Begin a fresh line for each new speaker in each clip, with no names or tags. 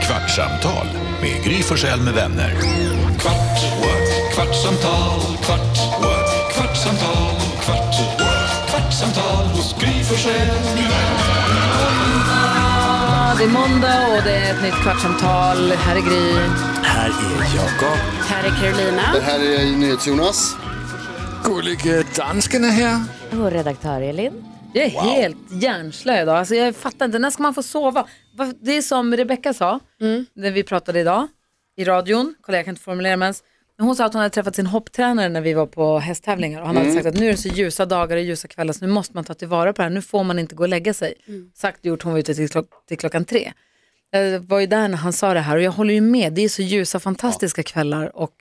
Kvartsamtal med Gry Forssell med vänner. Kvart, what? kvartsamtal, kvart, what? kvartsamtal, kvart, what? kvartsamtal hos Gry Forssell med vänner.
Ja, det är måndag och det är ett nytt kvartsamtal. Här är Gry.
Här är Jakob.
Här är Carolina.
Det här är NyhetsJonas.
Gullige dansken är här.
Och redaktör Elin.
Jag är helt hjärnslö idag. Alltså, jag fattar inte, när ska man få sova? Va- Det är som Rebecca sa, när vi pratade idag i radion. Kolla, jag kan inte formulera mig ens. Men hon sa att hon hade träffat sin hopptränare när vi var på hästtävlingar och han
Mm.
hade sagt att nu är det så ljusa dagar och ljusa kvällar så nu måste man ta tillvara på det här. Nu får man inte gå och lägga sig. Sagt och gjort, hon var ute till, klock, till klockan tre. Jag Eh, var ju där när han sa det här och jag håller ju med. Det är så ljusa, fantastiska kvällar och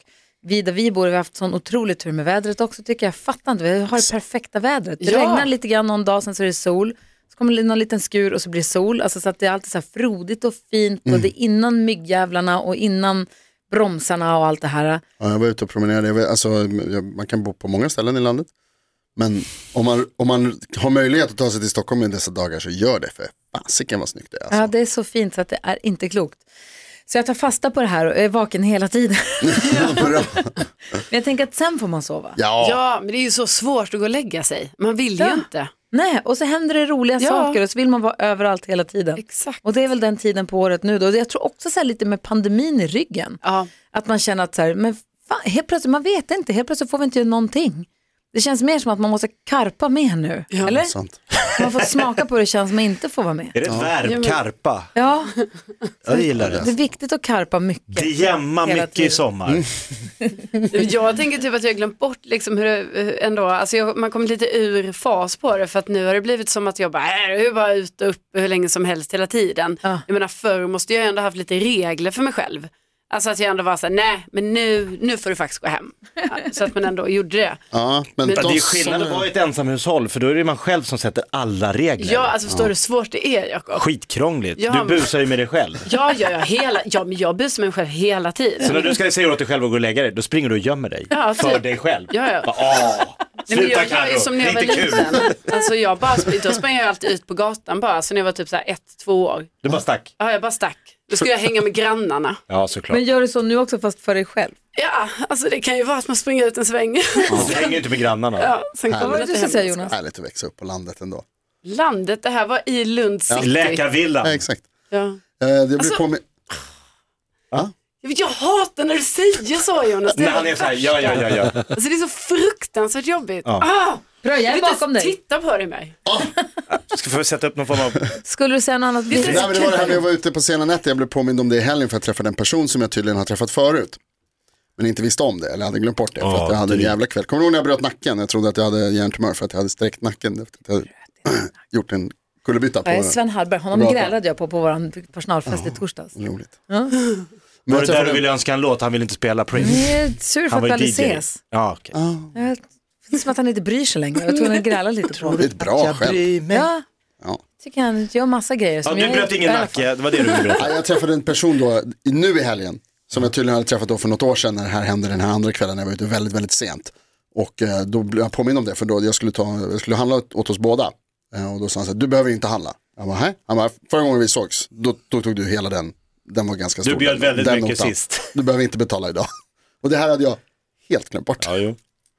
vi där vi bor vi har haft sån otrolig tur med vädret också tycker jag. Jag fattar inte, vi har det perfekta vädret. Det
Ja.
regnar lite grann någon dag, sen så är det sol. Så kommer det någon liten skur och så blir det sol. Alltså så att det är alltid så här frodigt och fint
Mm.
och det är innan myggjävlarna och innan bromsarna och allt det här.
Ja, jag var ute och promenerade, jag vet, alltså, jag, man kan bo på många ställen i landet. Men om man, om man har möjlighet att ta sig till Stockholm i dessa dagar så gör det för fasiken vad snyggt det är. Alltså.
Ja, det är så fint så att det är inte klokt. Så jag tar fasta på det här och är vaken hela tiden.
Bra.
Men jag tänker att sen får man sova.
ja.
Ja, men det är ju så svårt att gå och lägga sig. Man vill ju
Ja.
inte.
Nej, och så händer det roliga
Ja.
saker och så vill man vara överallt hela tiden.
Exakt.
Och det är väl den tiden på året nu då. Jag tror också så här lite med pandemin i ryggen.
Ja.
Att man känner att så här, men fan, helt plötsligt, man vet inte, helt plötsligt får vi inte göra någonting. Det känns mer som att man måste karpa med nu,
Ja.
eller?
sant.
Man får smaka på hur det känns som man inte får vara med.
Är det ett verb? Karpa.
Ja,
Jag gillar
det
det.
är viktigt att karpa mycket.
Det jämnar
Hela
mycket i
tiden.
Mm.
sommar.
Jag tänker typ att jag har glömt bort liksom hur det ändå, alltså jag, man kommit lite ur fas på det för att nu har det blivit som att jag bara, äh, jag är bara ute och uppe hur länge som helst hela tiden.
Ja.
Jag menar förr måste jag ändå haft lite regler för mig själv. Alltså att jag ändå var såhär, nej men nu, nu får du faktiskt gå hem. Ja, så att man ändå gjorde det.
Ja, men
Men
de
Det är ju
som
skillnad att vara i ett ensamhushåll för då är det man själv som sätter alla regler.
Ja, alltså förstår du hur svårt det är Jakob?
Skitkrångligt.
Ja,
Du
men-
busar ju med dig själv.
Ja, ja, ja, hela, ja, men jag busar med mig själv hela
Så
tiden.
när du ska säga åt dig själv att gå och lägga dig, då springer du och gömmer dig.
Ja,
för
typ.
dig själv.
Ja, ja.
Bara, Åh,
Nej, men jag,
sluta
jag är
Carro,
som när
det
jag var
är inte kul.
liten. Alltså jag bara, då sprang jag alltid ut på gatan bara, så när jag var typ så här ett, två år.
Du bara stack.
Ja, jag bara stack. Då skulle jag hänga med grannarna.
Ja, såklart.
Men gör du så nu också fast för dig själv?
Ja, alltså det kan ju vara att man springer ut en sväng.
Du hänger ju inte med grannarna.
Ja, sen
Vad
kommer
var det
det
du skulle
hem.
säga Jonas?
Härligt att växa upp på landet ändå.
Landet, det här var i Lund city.
Läkarvillan.
Ja, exakt.
Ja.
Eh, Jag blir
Alltså-
påmin-
Jag vet, Jag hatar när du säger så Jonas. Det
När
är,
han är så här, ja, ja, ja, ja.
alltså, det är så fruktansvärt jobbigt.
Ja.
Ah,
Bra, jag
jag
är
vill inte
bakom
ens
dig.
titta på dig mer.
Ska få sätta upp någon form av
Skulle du säga något annat?
Vet du-
Nej, men det var det här när jag var ute på sena nätter, jag blev påmind om det i helgen för jag träffade en person som jag tydligen har träffat förut. Men inte visste om det, eller hade glömt bort det. För
Ja,
att jag hade en
drygt.
jävla kväll. Kommer du ihåg när jag bröt nacken? Jag trodde att jag hade hjärntumör för att jag hade sträckt nacken. Efter att jag hade gjort en kullerbytta på
Nej,
den.
Sven Hallberg, honom
Bra.
grälade jag på på vår personalfest i torsdags.
Roligt.
Ja.
Men
Var
jag
det där
träffade
du ville
en,
önska en låt, han ville inte spela Prince?
Jag är sur för
Han
att
var
vi
ju
aldrig
DJ.
ses.
Ja, okej.
Ah,
Jag, det är som att han inte bryr sig längre. Jag tror han grälar lite på
det är
honom.
ett bra skämt.
bryr mig.
Ja,
Ja.
tycker han gör massa grejer.
Ja,
Som
du
jag
bröt ingen
i alla fall.
nacke, det var det du ville
Ja,
berätta.
Jag träffade en person då, i- nu i helgen, som jag tydligen hade träffat då för något år sedan när det här hände den här andra kvällen när jag var ute väldigt, väldigt sent. Och eh, då blev jag påminn om det, för då jag skulle, ta, jag skulle handla åt åt oss båda. Eh, Och då sa han så här, du behöver inte handla. Jag bara, "Hä?" Han bara, förra gången vi sågs, då, då tog du hela den, den var ganska stor.
Du bjöd
den-
väldigt
den
mycket
notan.
sist.
Du behöver inte betala idag. Och det här hade jag helt glömt bort.
Ja, jo.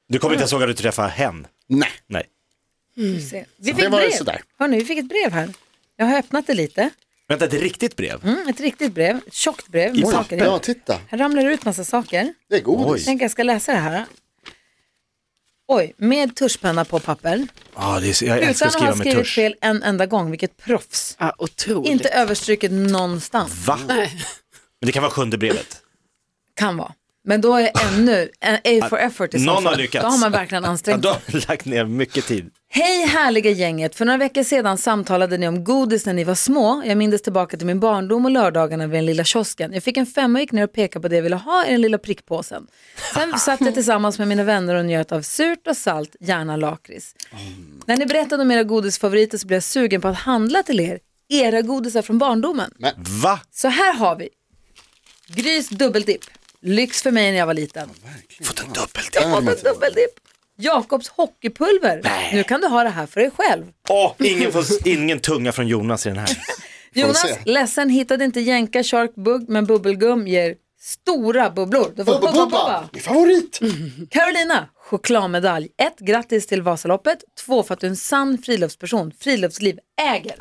Du kommer inte ens ihåg att du träffade hen?
Nej,
Nej.
Vi får se. Vi
Det
fick
var
brev.
sådär.
Hörrni, vi fick ett brev här. Jag har öppnat det lite.
Vänta, ett riktigt brev?
Mm, ett riktigt brev, ett tjockt brev med
Oj,
saker
ja
i.
titta,
Här ramlar det ut massa saker.
det är godis.
Tänk jag ska läsa det här. Oj, med tuschpenna på papper.
Ja, det är, så- jag älskar
Utan
att
att
skriva
ha
med
skrivit
tusch.
fel en enda gång, vilket proffs.
Ja, otroligt.
Inte överstruket någonstans.
Va? Men det kan vara sjunde brevet.
Kan vara. Men då är jag ännu, en A for effort i så
Ah, Någon har
fall.
lyckats.
Då har man verkligen
Ja,
ansträngt
du
sig.
har lagt ner mycket tid.
Hej härliga gänget! För några veckor sedan samtalade ni om godis när ni var små. Jag mindes tillbaka till min barndom och lördagarna vid den lilla kiosken. Jag fick en femma och gick ner och pekade på det jag ville ha i den lilla prickpåsen. Sen satt jag tillsammans med mina vänner och njöt av surt och salt, gärna lakrits.
Mm.
När ni berättade om era godisfavoriter så blev jag sugen på att handla till er, era godisar från barndomen.
Va?
Så här har vi Grys dubbeldipp. Lyx för mig när jag var liten.
Fått en dubbelt?
Jag har fått dubbeldipp. Jakobs hockeypulver. Nu kan du ha det här för dig själv.
Åh, ingen, får, ingen tunga från Jonas i den här.
Får vi
Jonas,
se.
ledsen hittade inte jänka, shark, bugg, men bubbelgum ger stora bubblor. Du får
Bubba,
bubba, bubba.
bubba, min favorit.
Carolina, chokladmedalj. Ett, grattis till Vasaloppet. Två, för att du är en sann friluftsperson. Friluftsliv äger.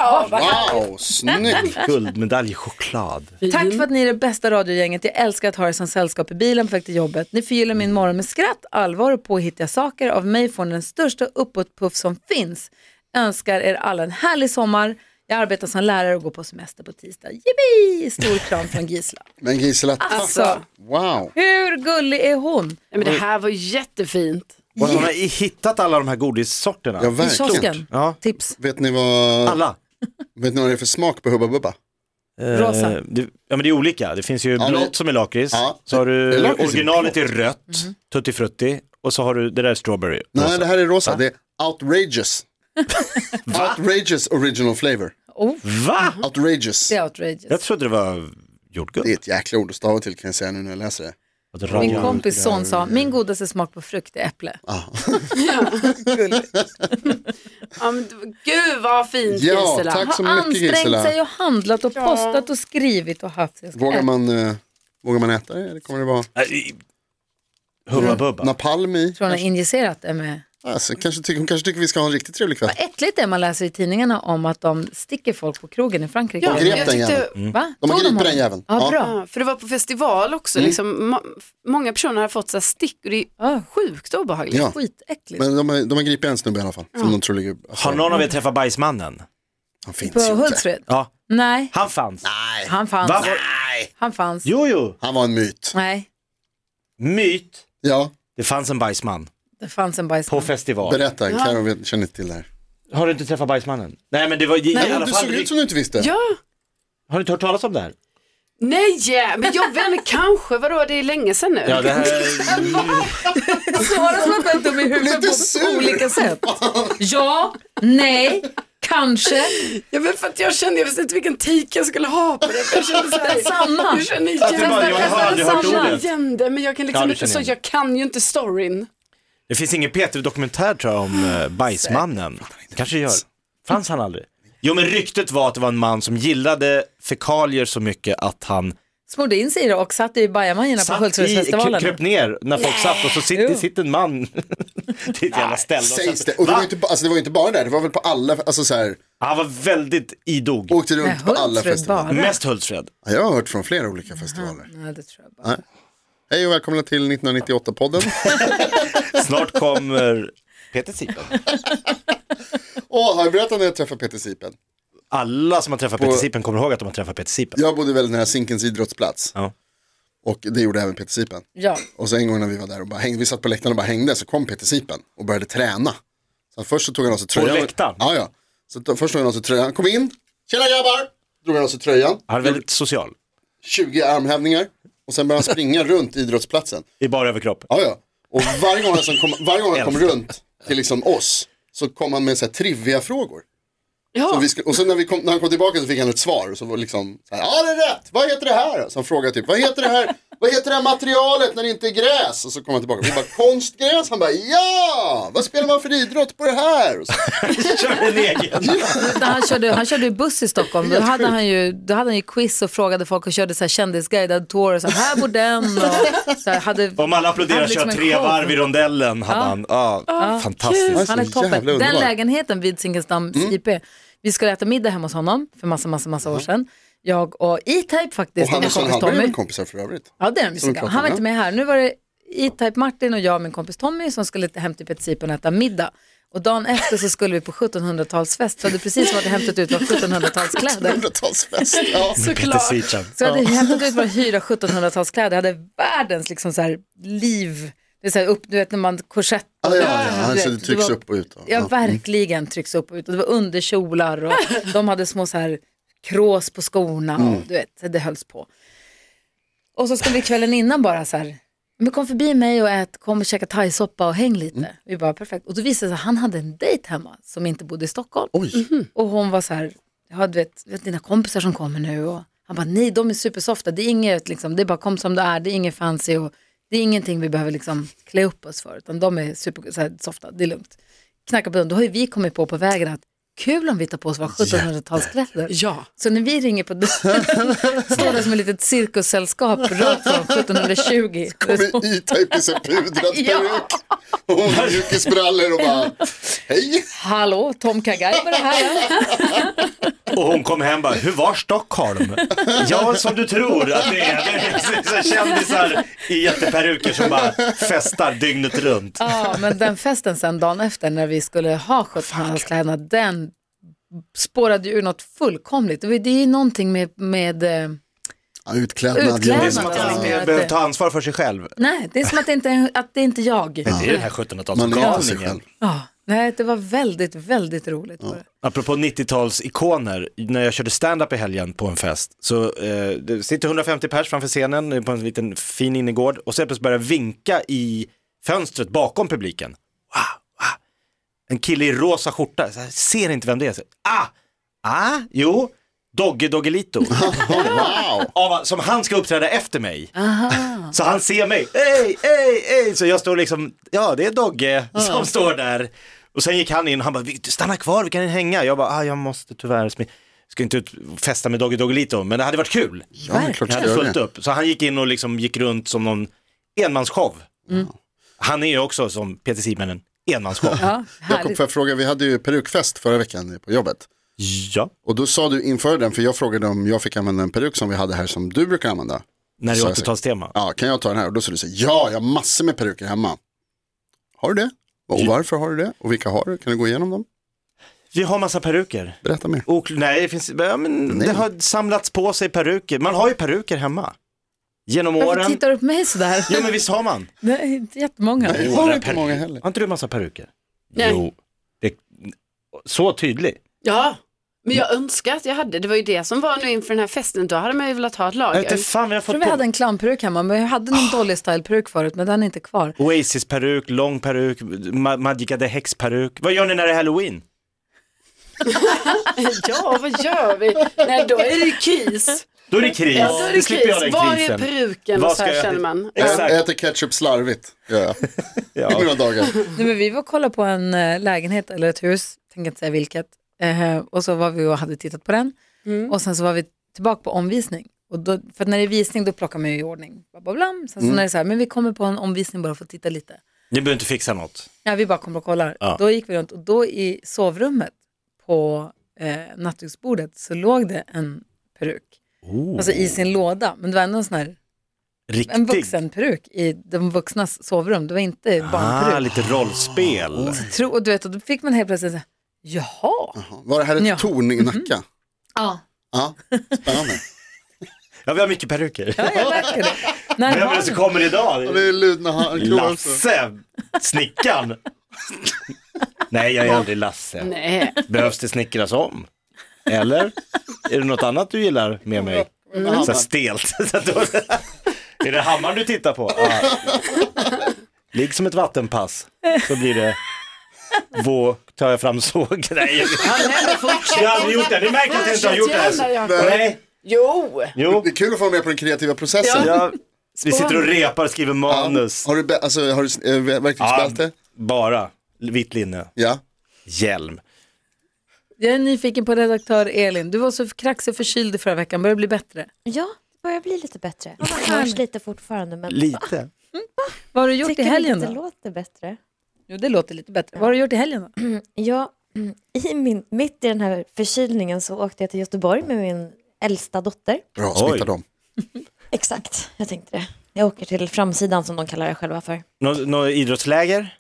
Wow, snygg.
Guldmedalj i choklad.
Tack för att ni är det bästa radiogänget. Jag älskar att ha er som sällskap i bilen på väg till jobbet. Ni förgyller min morgon med skratt, allvar och påhittiga saker. Av mig får ni den största uppåtpuff som finns. Önskar er alla en härlig sommar. Jag arbetar som lärare och går på semester på tisdag. Jippi! Stor kram från Gisla.
Men Gisela, tack.
Alltså,
Wow.
hur gullig är hon?
Ja, men det här var jättefint.
Och att hon har hittat alla de här godissorterna.
Ja,
I kiosken.
verkligen.
Ja.
Tips.
Vet ni, vad,
Alla.
vet ni vad det är för smak på Hubba Bubba?
Rosa.
Eh, det, ja men det är olika. Det finns ju
Ja,
blått
det-
som är lakrits.
Ja,
så har
det-
du
lakrits är
originalet är rött,
Mm.
tutti frutti. Och så har du det där är strawberry.
Nej,
rosa.
det här är rosa. Det är outrageous. outrageous original flavor.
Oh,
Va?
Outrageous.
det är outrageous.
Jag trodde det var jordgubb.
Det är ett jäkla ord att stava till kan jag säga nu när jag läser det.
Min kompis son sa, min godaste smak på frukt är äpple.
Ja, men, d- gud vad fint
Ja,
Gisela.
tack så
Har
mycket
ansträngt sig
Gisela.
och handlat och postat och skrivit och haft. Jag ska
Vågar
äta.
man, eh, vågar man äta det eller kommer det vara
Nej, Hubba bubba.
napalm i?
tror han har injicerat det med.
Alltså, kanske tycker, hon kanske tycker vi ska ha en riktigt trevlig kväll.
Vad äckligt det är man läser i tidningarna om att de sticker folk på krogen i Frankrike.
Ja,
De grep
jag
den
tyckte-
jäveln.
Va?
De har
Tog
gripit
honom?
den jäveln.
Ja,
Ja.
bra.
Ja, för det var på festival också.
Mm.
Liksom, ma- f- många personer har fått så här stick och det är
Ja.
sjukt obehagligt.
Ja.
Skitäckligt.
Men de har, de har gripit en snubbe i alla fall. Som de tror ligger, alltså,
Har någon av er träffat bajsmannen?
han finns
På
ju inte.
Hultsfred?
Ja,
Nej,
han fanns.
han fanns.
Va?
Han fanns.
Jo, jo.
Han var en myt.
Nej,
Myt.
Ja,
Det fanns en bajsman
det fanns en
på
bajsman.
festival.
berätta. Karo vet- känner inte till det här.
Har du inte träffat bajsmannen? Nej, men det var i, i alla
Du
fall.
såg ut som du inte visste.
Ja.
Har du inte hört talas om det här?
Nej, men jag vet kanske, vadå, det är länge sedan nu.
Ja, det här...
Svara som att jag är dum i
Blir
huvudet
inte
på
sur.
olika sätt. Ja, nej, kanske.
Ja, men för att jag kände, jag visste inte vilken take jag skulle ha på det. För jag kände så här,
Samma.
Jag känner igen,
det bara, jag har aldrig hört
känner
ordet.
igen det, men jag kan
Ja,
liksom
du
inte,
känner
så
igen det.
jag kan ju inte storyn.
Det finns ingen P3-dokumentär tror jag om eh, bajsmannen. Kanske gör. Fanns han aldrig? Jo, men ryktet var att det var en man som gillade fekalier så mycket att han
Smorde in sig i det och satt i bajamajorna på
satt i, kr-
Hultsfredsfestivalen.
kröp ner när folk satt och så sitter,
Jo.
sitter en man till ett jävla ställe. Och
Sägs
satt,
det. Och det var, ju inte, ba- alltså, det var ju inte bara där, det var väl på alla, alltså så här,
han var väldigt idog.
åkte
Nej,
runt på alla
Hultsfred
festivaler.
bara.
Mest Hultsfred.
Ja, Jag har hört från flera olika festivaler.
Nej, det tror jag bara.
Hej och välkomna till 1998-podden.
Snart kommer Peter Sipen.
Åh, har jag berättat när jag träffade Peter Sipen?
Alla som har träffat Peter Sipen kommer ihåg att de har träffat Peter Sipen.
Jag bodde väldigt nära Zinkens idrottsplats.
Ja.
Och det gjorde även Peter Sipen.
Ja,
Och så en gång när vi var där och bara hängde, vi satt på läktaren och bara hängde, så kom Peter Sipen och började träna. Så först så tog han av sig tröjan.
läktaren?
Ja, ja. Så t- först tog han av sig tröjan, han kom in, tjena grabbar, drog han av sig tröjan,
Han är väldigt social.
20 armhävningar och sen började han springa runt idrottsplatsen.
I bara överkropp.
Ja, ja. Och varje gång han, som kom, varje gång han kom runt till liksom oss så kom han med så här trivia-frågor. Så vi skulle, och sen när, vi kom, när han kom tillbaka så fick han ett svar. Och så var liksom, så här, ja det är rätt, vad heter det här? Så han frågade typ, vad heter det här, vad heter det här materialet när det inte är gräs? Och så kom han tillbaka, vi bara, konstgräs? Han bara, ja! Vad spelar man för idrott på det här? Och så,
Kör en egen.
Utan han, körde, han körde ju buss i Stockholm. Då hade, han ju, då hade han ju quiz och frågade folk och körde så här kändisguidad tour. Och så här, här bor den. Och så här, hade,
Om alla applåderar
hade
kör
liksom en
tre
show. Mm.
varv i rondellen hade han. Ja, fantastiskt.
Han är så
Han är
jävla
toppen.
Mm.
Den
underbar.
lägenheten vid Zinkensdamms IP. Vi skulle äta middag hemma hos honom för massa, massa, massa år sedan. Jag och E-Type
och
faktiskt,
han
min
och Sven
kompis
Hallberg är väl
Tommy.
kompisar för övrigt.
Ja, det är de ju
Som
såklart.
vi pratade
Han var
om,
inte med här. Nu var det E-Type Martin och jag, min kompis Tommy, som skulle hem till Petitsipen och äta middag. Och dagen efter så skulle vi på 1700-talsfest. Så hade precis varit och hämtat ut våra 1700-talskläder.
100-talsfest. Ja.
Peter Sipen.
Så jag hade hämtat ut våra hyra 1700-talskläder, hade världens liksom så här liv, det är så här upp, du vet när man korsett och
Ja, ja,
du
ja,
vet,
han
du
så
vet,
det trycks
var-
upp och ut.
Ja,
Ja. mm.
verkligen trycks upp och ut. Och det var underkjolar och de hade små så här krås på skorna och
Mm.
du vet, det hölls på. Och så skulle vi kvällen innan bara så här, men kom förbi mig och ät, kom och käka thaisoppa och häng lite.
Mm.
Vi bara perfekt. Och då visade det sig att han hade en dejt hemma som inte bodde i Stockholm.
Oj,
Och hon var så här, ja, du vet, vet dina kompisar som kommer nu. Och han bara, nej de är supersofta, det är inget, liksom, det är bara kom som du är, det är inget fancy och det är ingenting vi behöver liksom, klä upp oss för, utan de är super så här, softa, det är lugnt. Knacka på dörren, då har ju vi kommit på på vägen att kul om vi tar på oss våra 1700-talskläder.
Ja.
Så när vi ringer på dörren står det som ett litet cirkussällskap rakt från 1720.
Med E-Type i sin pudrad peruk och mjukisbrallor och bara hej.
Hallå, Tom Kagaj var det här.
Och hon kom hem bara, hur var Stockholm? ja, som du tror att det är. Det är så- så kändisar i jätteperuker som bara festar dygnet runt.
Ja, men den festen sen dagen efter när vi skulle ha 1700-talskläderna, den spårade ju ur något fullkomligt. Det var- det är ju någonting med, med eh,
Ja, utklädnad.
Utklädnad.
Det är som att han inte behöver ta ansvar för sig själv.
nej, det är som att det inte är, att det är inte är jag.
Det är den här
Man är inte sig själv.
1700-talsgalningen.
Ja, nej, det var väldigt, väldigt roligt. var det.
Apropå 90-talsikoner, när jag körde stand-up i helgen på en fest, så eh, det sitter 150 pers framför scenen eh, på en liten fin innergård och så helt plötsligt börjar jag vinka i fönstret bakom publiken. Wow, wow. En kille i rosa skjorta, så här, ser inte vem det är. Så, ah, ah, jo, Dogge Doggelito.
Wow.
Av, som han ska uppträda efter mig. Så han ser mig, ey, ey, ey. Så jag står liksom, ja det är Dogge som står där. Och sen gick han in, han bara, "Vi- stanna kvar, vi kan hänga. Jag bara, ah, jag måste tyvärr, smi- ska inte ut festa med Dogge Doggelito, men det hade varit kul.
Ja, men klart
Jag
ska
hade
göra
fullt
det.
upp. Så han gick in och liksom gick runt som någon enmansshow. Han är ju också som Peter Simenon, enmansshow.
Ja,
Jakob,
härligt.
får jag fråga, vi hade ju perukfest förra veckan på jobbet.
Ja,
Och då sa du inför den, för jag frågade om jag fick använda en peruk som vi hade här som du brukar använda.
när det
Så
är
jag säger-
80-talstema.
Ja, kan jag ta den här? Och då sa du så här, ja, jag har massor med peruker hemma. Har du det? Och varför har du det? Och vilka har du? Kan du gå igenom dem?
Vi har massa peruker.
Berätta mer.
Okl- nej, det, finns, ja, men
Nej.
det har samlats på sig peruker. Man har ju peruker hemma. Genom
Varför
åren.
tittar du på mig sådär?
Jo men visst har man.
Nej, inte jättemånga.
Nej, jag
Några
har inte
peruker.
många heller.
Har inte du massa peruker?
Nej.
Jo. Det, så tydlig.
Ja, men jag önskar att jag hade. Det var ju det som var nu inför den här festen. Då hade man ju velat ha ett
Jag vet
lager.
inte fan vi har
Jag
fått
tror vi hade
på.
en clownperuk hemma, men jag hade någon dålig styleperuk förut, men den är inte kvar.
Oasis-peruk, lång peruk, Ma- Magica the Hex-peruk. Vad gör ni när det är halloween?
Ja, vad gör vi? Nej, då är det ju kris.
Då är det kris.
Ja, då är det
slipper jag
kris.
den
Var är
krisen.
peruken? Och
Vad
så
ska
här
jag-
känner man.
Jag
Exakt.
äter ketchup slarvigt, gör jag. I
Ja.
mina dagar.
Nej, men vi var och kollade på en eh, lägenhet eller ett hus, tänker inte säga vilket. Eh, och så var vi och hade tittat på den. Och sen så var vi tillbaka på omvisning. Och då, för att när det är visning då plockar man ju i ordning. Bla, bla, bla. Sen så när det är så här, men vi kommer på en omvisning bara för att titta lite.
Ni behöver inte fixa något.
Ja, vi bara kommer och kollar.
Ja.
Då gick vi runt och då i sovrummet på eh, nattduksbordet så låg det en peruk. Alltså i sin låda, men det var ändå en sån här, en
Riktig.
vuxenperuk i de vuxnas sovrum. Det var inte
Ah,
barnperuk.
lite rollspel.
Tro, och du vet, och då fick man helt plötsligt så här, jaha.
Var det här ett
Ja.
torn i Nacka?
Ja.
Ja, spännande.
Ja, vi har mycket peruker.
Ja, jag märker det. När
Vem är det
har
som
du?
kommer idag?
Ja, Det är ludna handklor också.
Lasse, snickaren. Nej, jag är aldrig Lasse.
Nej,
Behövs det snickras om? Eller? Är det något annat du gillar med mig? Så här stelt. Så att då- är det hammaren du tittar på? Ja. Ligg som ett vattenpass, så blir det vå, tar jag fram såg. Nej, jag har aldrig gjort det. Ni märker att jag inte har gjort det.
Fortsätt
här. Nej,
jo.
jo.
Det är kul att få vara med på den kreativa processen.
Jag, vi sitter och repar, skriver manus.
Har du, bä- alltså, har du eh, verktygsbälte?
Bara vitt linne,
Ja.
hjälm.
Jag är nyfiken på redaktör Elin. Du var så kraxig och förkyld i förra veckan, börjar bli bättre.
Ja, det börjar bli lite bättre. Det hörs lite fortfarande men
Lite.
Vad har du gjort i
tycker
helgen
inte det
då?
låter bättre.
Jo, det låter lite bättre. Vad har du gjort i helgen då?
Jag, mm, i min, mitt i den här förkylningen så åkte jag till Göteborg med min äldsta dotter.
Bra,
Oj.
smitta dem.
Exakt, jag tänkte det. Jag åker till framsidan som de kallar det själva för.
Något nå idrottsläger?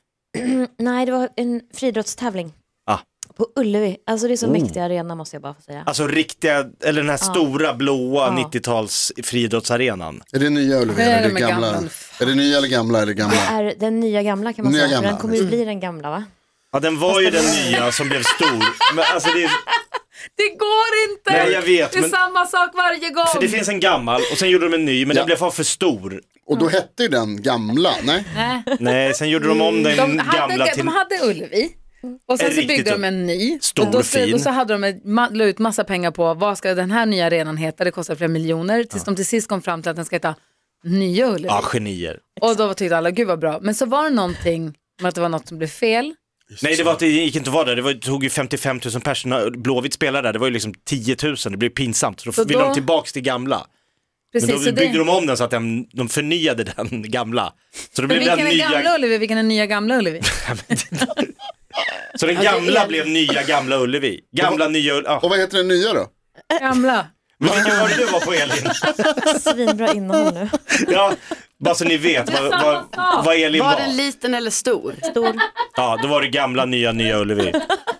Nej, det var en friidrottstävling.
Ah.
På Ullevi. Alltså det är så mäktig arena måste jag bara få säga.
Alltså riktiga, eller den här stora blåa
Ja.
90-tals friidrottsarenan.
Är det nya Ullevi
Vad är
eller är
det
det
med
gamla?
gamla?
Är det nya eller gamla? Är det
Det
gamla?
är den nya gamla kan man
Nya
säga.
gamla,
för den kommer ju bli den gamla va?
Ja den var ju den nya som blev stor. Men alltså det, är,
Det går inte!
Nej, jag vet,
det är
men-
samma sak varje gång.
för det finns en gammal och sen gjorde de en ny men
Ja.
den blev fan för stor.
Och då hette ju den gamla, nej?
Nej.
Nej sen gjorde de om den
Mm. De
gamla
hade,
till...
de hade Ullevi och sen
En
så byggde
riktigt
de en ny.
stor
och, då, så-
fin.
och så hade de ett, ma- la ut massa pengar på vad ska den här nya arenan heta, det kostar flera miljoner. Tills de till sist kom fram till att den ska heta Nya Ullevi.
Ja genier.
Och då tyckte alla, gud vad bra. Men så var det någonting med att det var något som blev fel.
Nej, det, var, det gick inte att vara där. Det, var, det tog ju 55 000 personer. Blåvitt spelade där, det var ju liksom 10 000. Det blev pinsamt. Så då
Så
ville
då-
de tillbaks till gamla.
Precis,
Men
så
då
det-
byggde de om den så att den, de förnyade den gamla. Så, då
Men
blev den
vilken är
nya,
gamla Ullevi, vilken är nya gamla Ullevi?
så den gamla blev nya gamla Ullevi. Gamla nya Ullevi.
Och
Ja.
vad heter den nya då?
Gamla.
Men vilken var det du var på Elin?
Svinbra innehåll nu.
Ja, bara så ni vet vad, vad, vad Elin
Var
var.
den liten eller stor?
Stor.
Ja, då var det gamla nya nya Ullevi.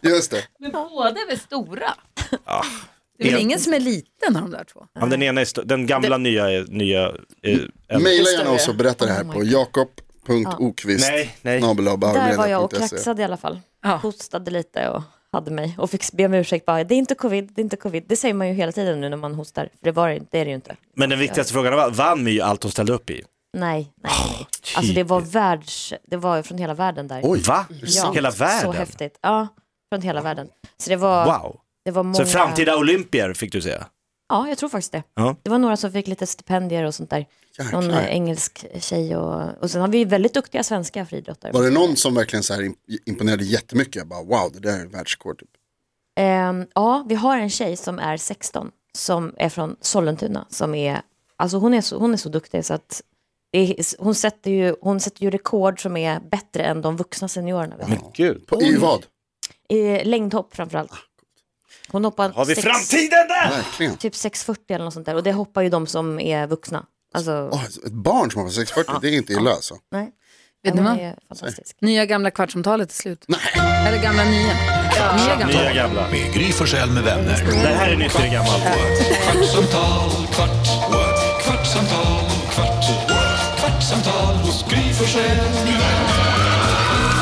Just det.
Men båda är väl stora? Det är väl
Ja.
ingen som är liten av de där två?
Ah. Ja, den ena är st- den gamla nya är nya. eh, äldre.
Maila
Just det,
gärna oss och berätta det här på jakob.okvist.
Nej, nej.
Där var jag och
E?
kraxade i alla fall.
Ja.
Hostade lite och hade mig och fick be om ursäkt. Bara, det är inte covid, det är inte covid. Det säger man ju hela tiden nu när man hostar. För det, var, det det är det ju inte.
Men den viktigaste frågan var, vann My allt hon ställde upp i?
Nej, nej, nej. Alltså det var världs... Det var ju från hela världen där.
Oj, va? Hela
Så
världen?
häftigt. Ja, från hela världen. Så det var,
Wow.
det var många...
Så framtida olympier fick du säga?
Ja, jag tror faktiskt det.
Ja.
Det var några som fick lite stipendier och sånt där. Någon
Jäklar.
eh, engelsk tjej och... Och sen har vi ju väldigt duktiga svenska friidrottare.
Var det någon som verkligen så här imp- imponerade jättemycket? Jag bara wow, det där är världsrekord. Typ.
Ehm, ja, vi har en tjej som är 16 som är från Sollentuna som är, alltså hon är så, hon är så duktig så att det är, hon, sätter ju, hon sätter ju rekord som är bättre än de vuxna seniorerna. vi har.
Gud.
På, I vad?
I längdhopp framförallt. Hon hoppar
Har vi
sex-
framtiden där?
Verkligen.
typ 6,40 eller något sånt där och det hoppar ju de som är vuxna. Alltså,
Åh, ett barn som har 640, det är inte illa alltså.
nej.
Vet ni
Hon
vad?
är fantastisk.
Nya gamla kvartssamtalet är slut. Eller gamla nya. Nya gamla.
Nya gamla.
Med Gry Forssell med vänner.
Det här är nytt eller gammalt.
Kvartsamtal, kvart, what? kvartsamtal, kvart, what? kvartsamtal hos Gry Forssell med vänner.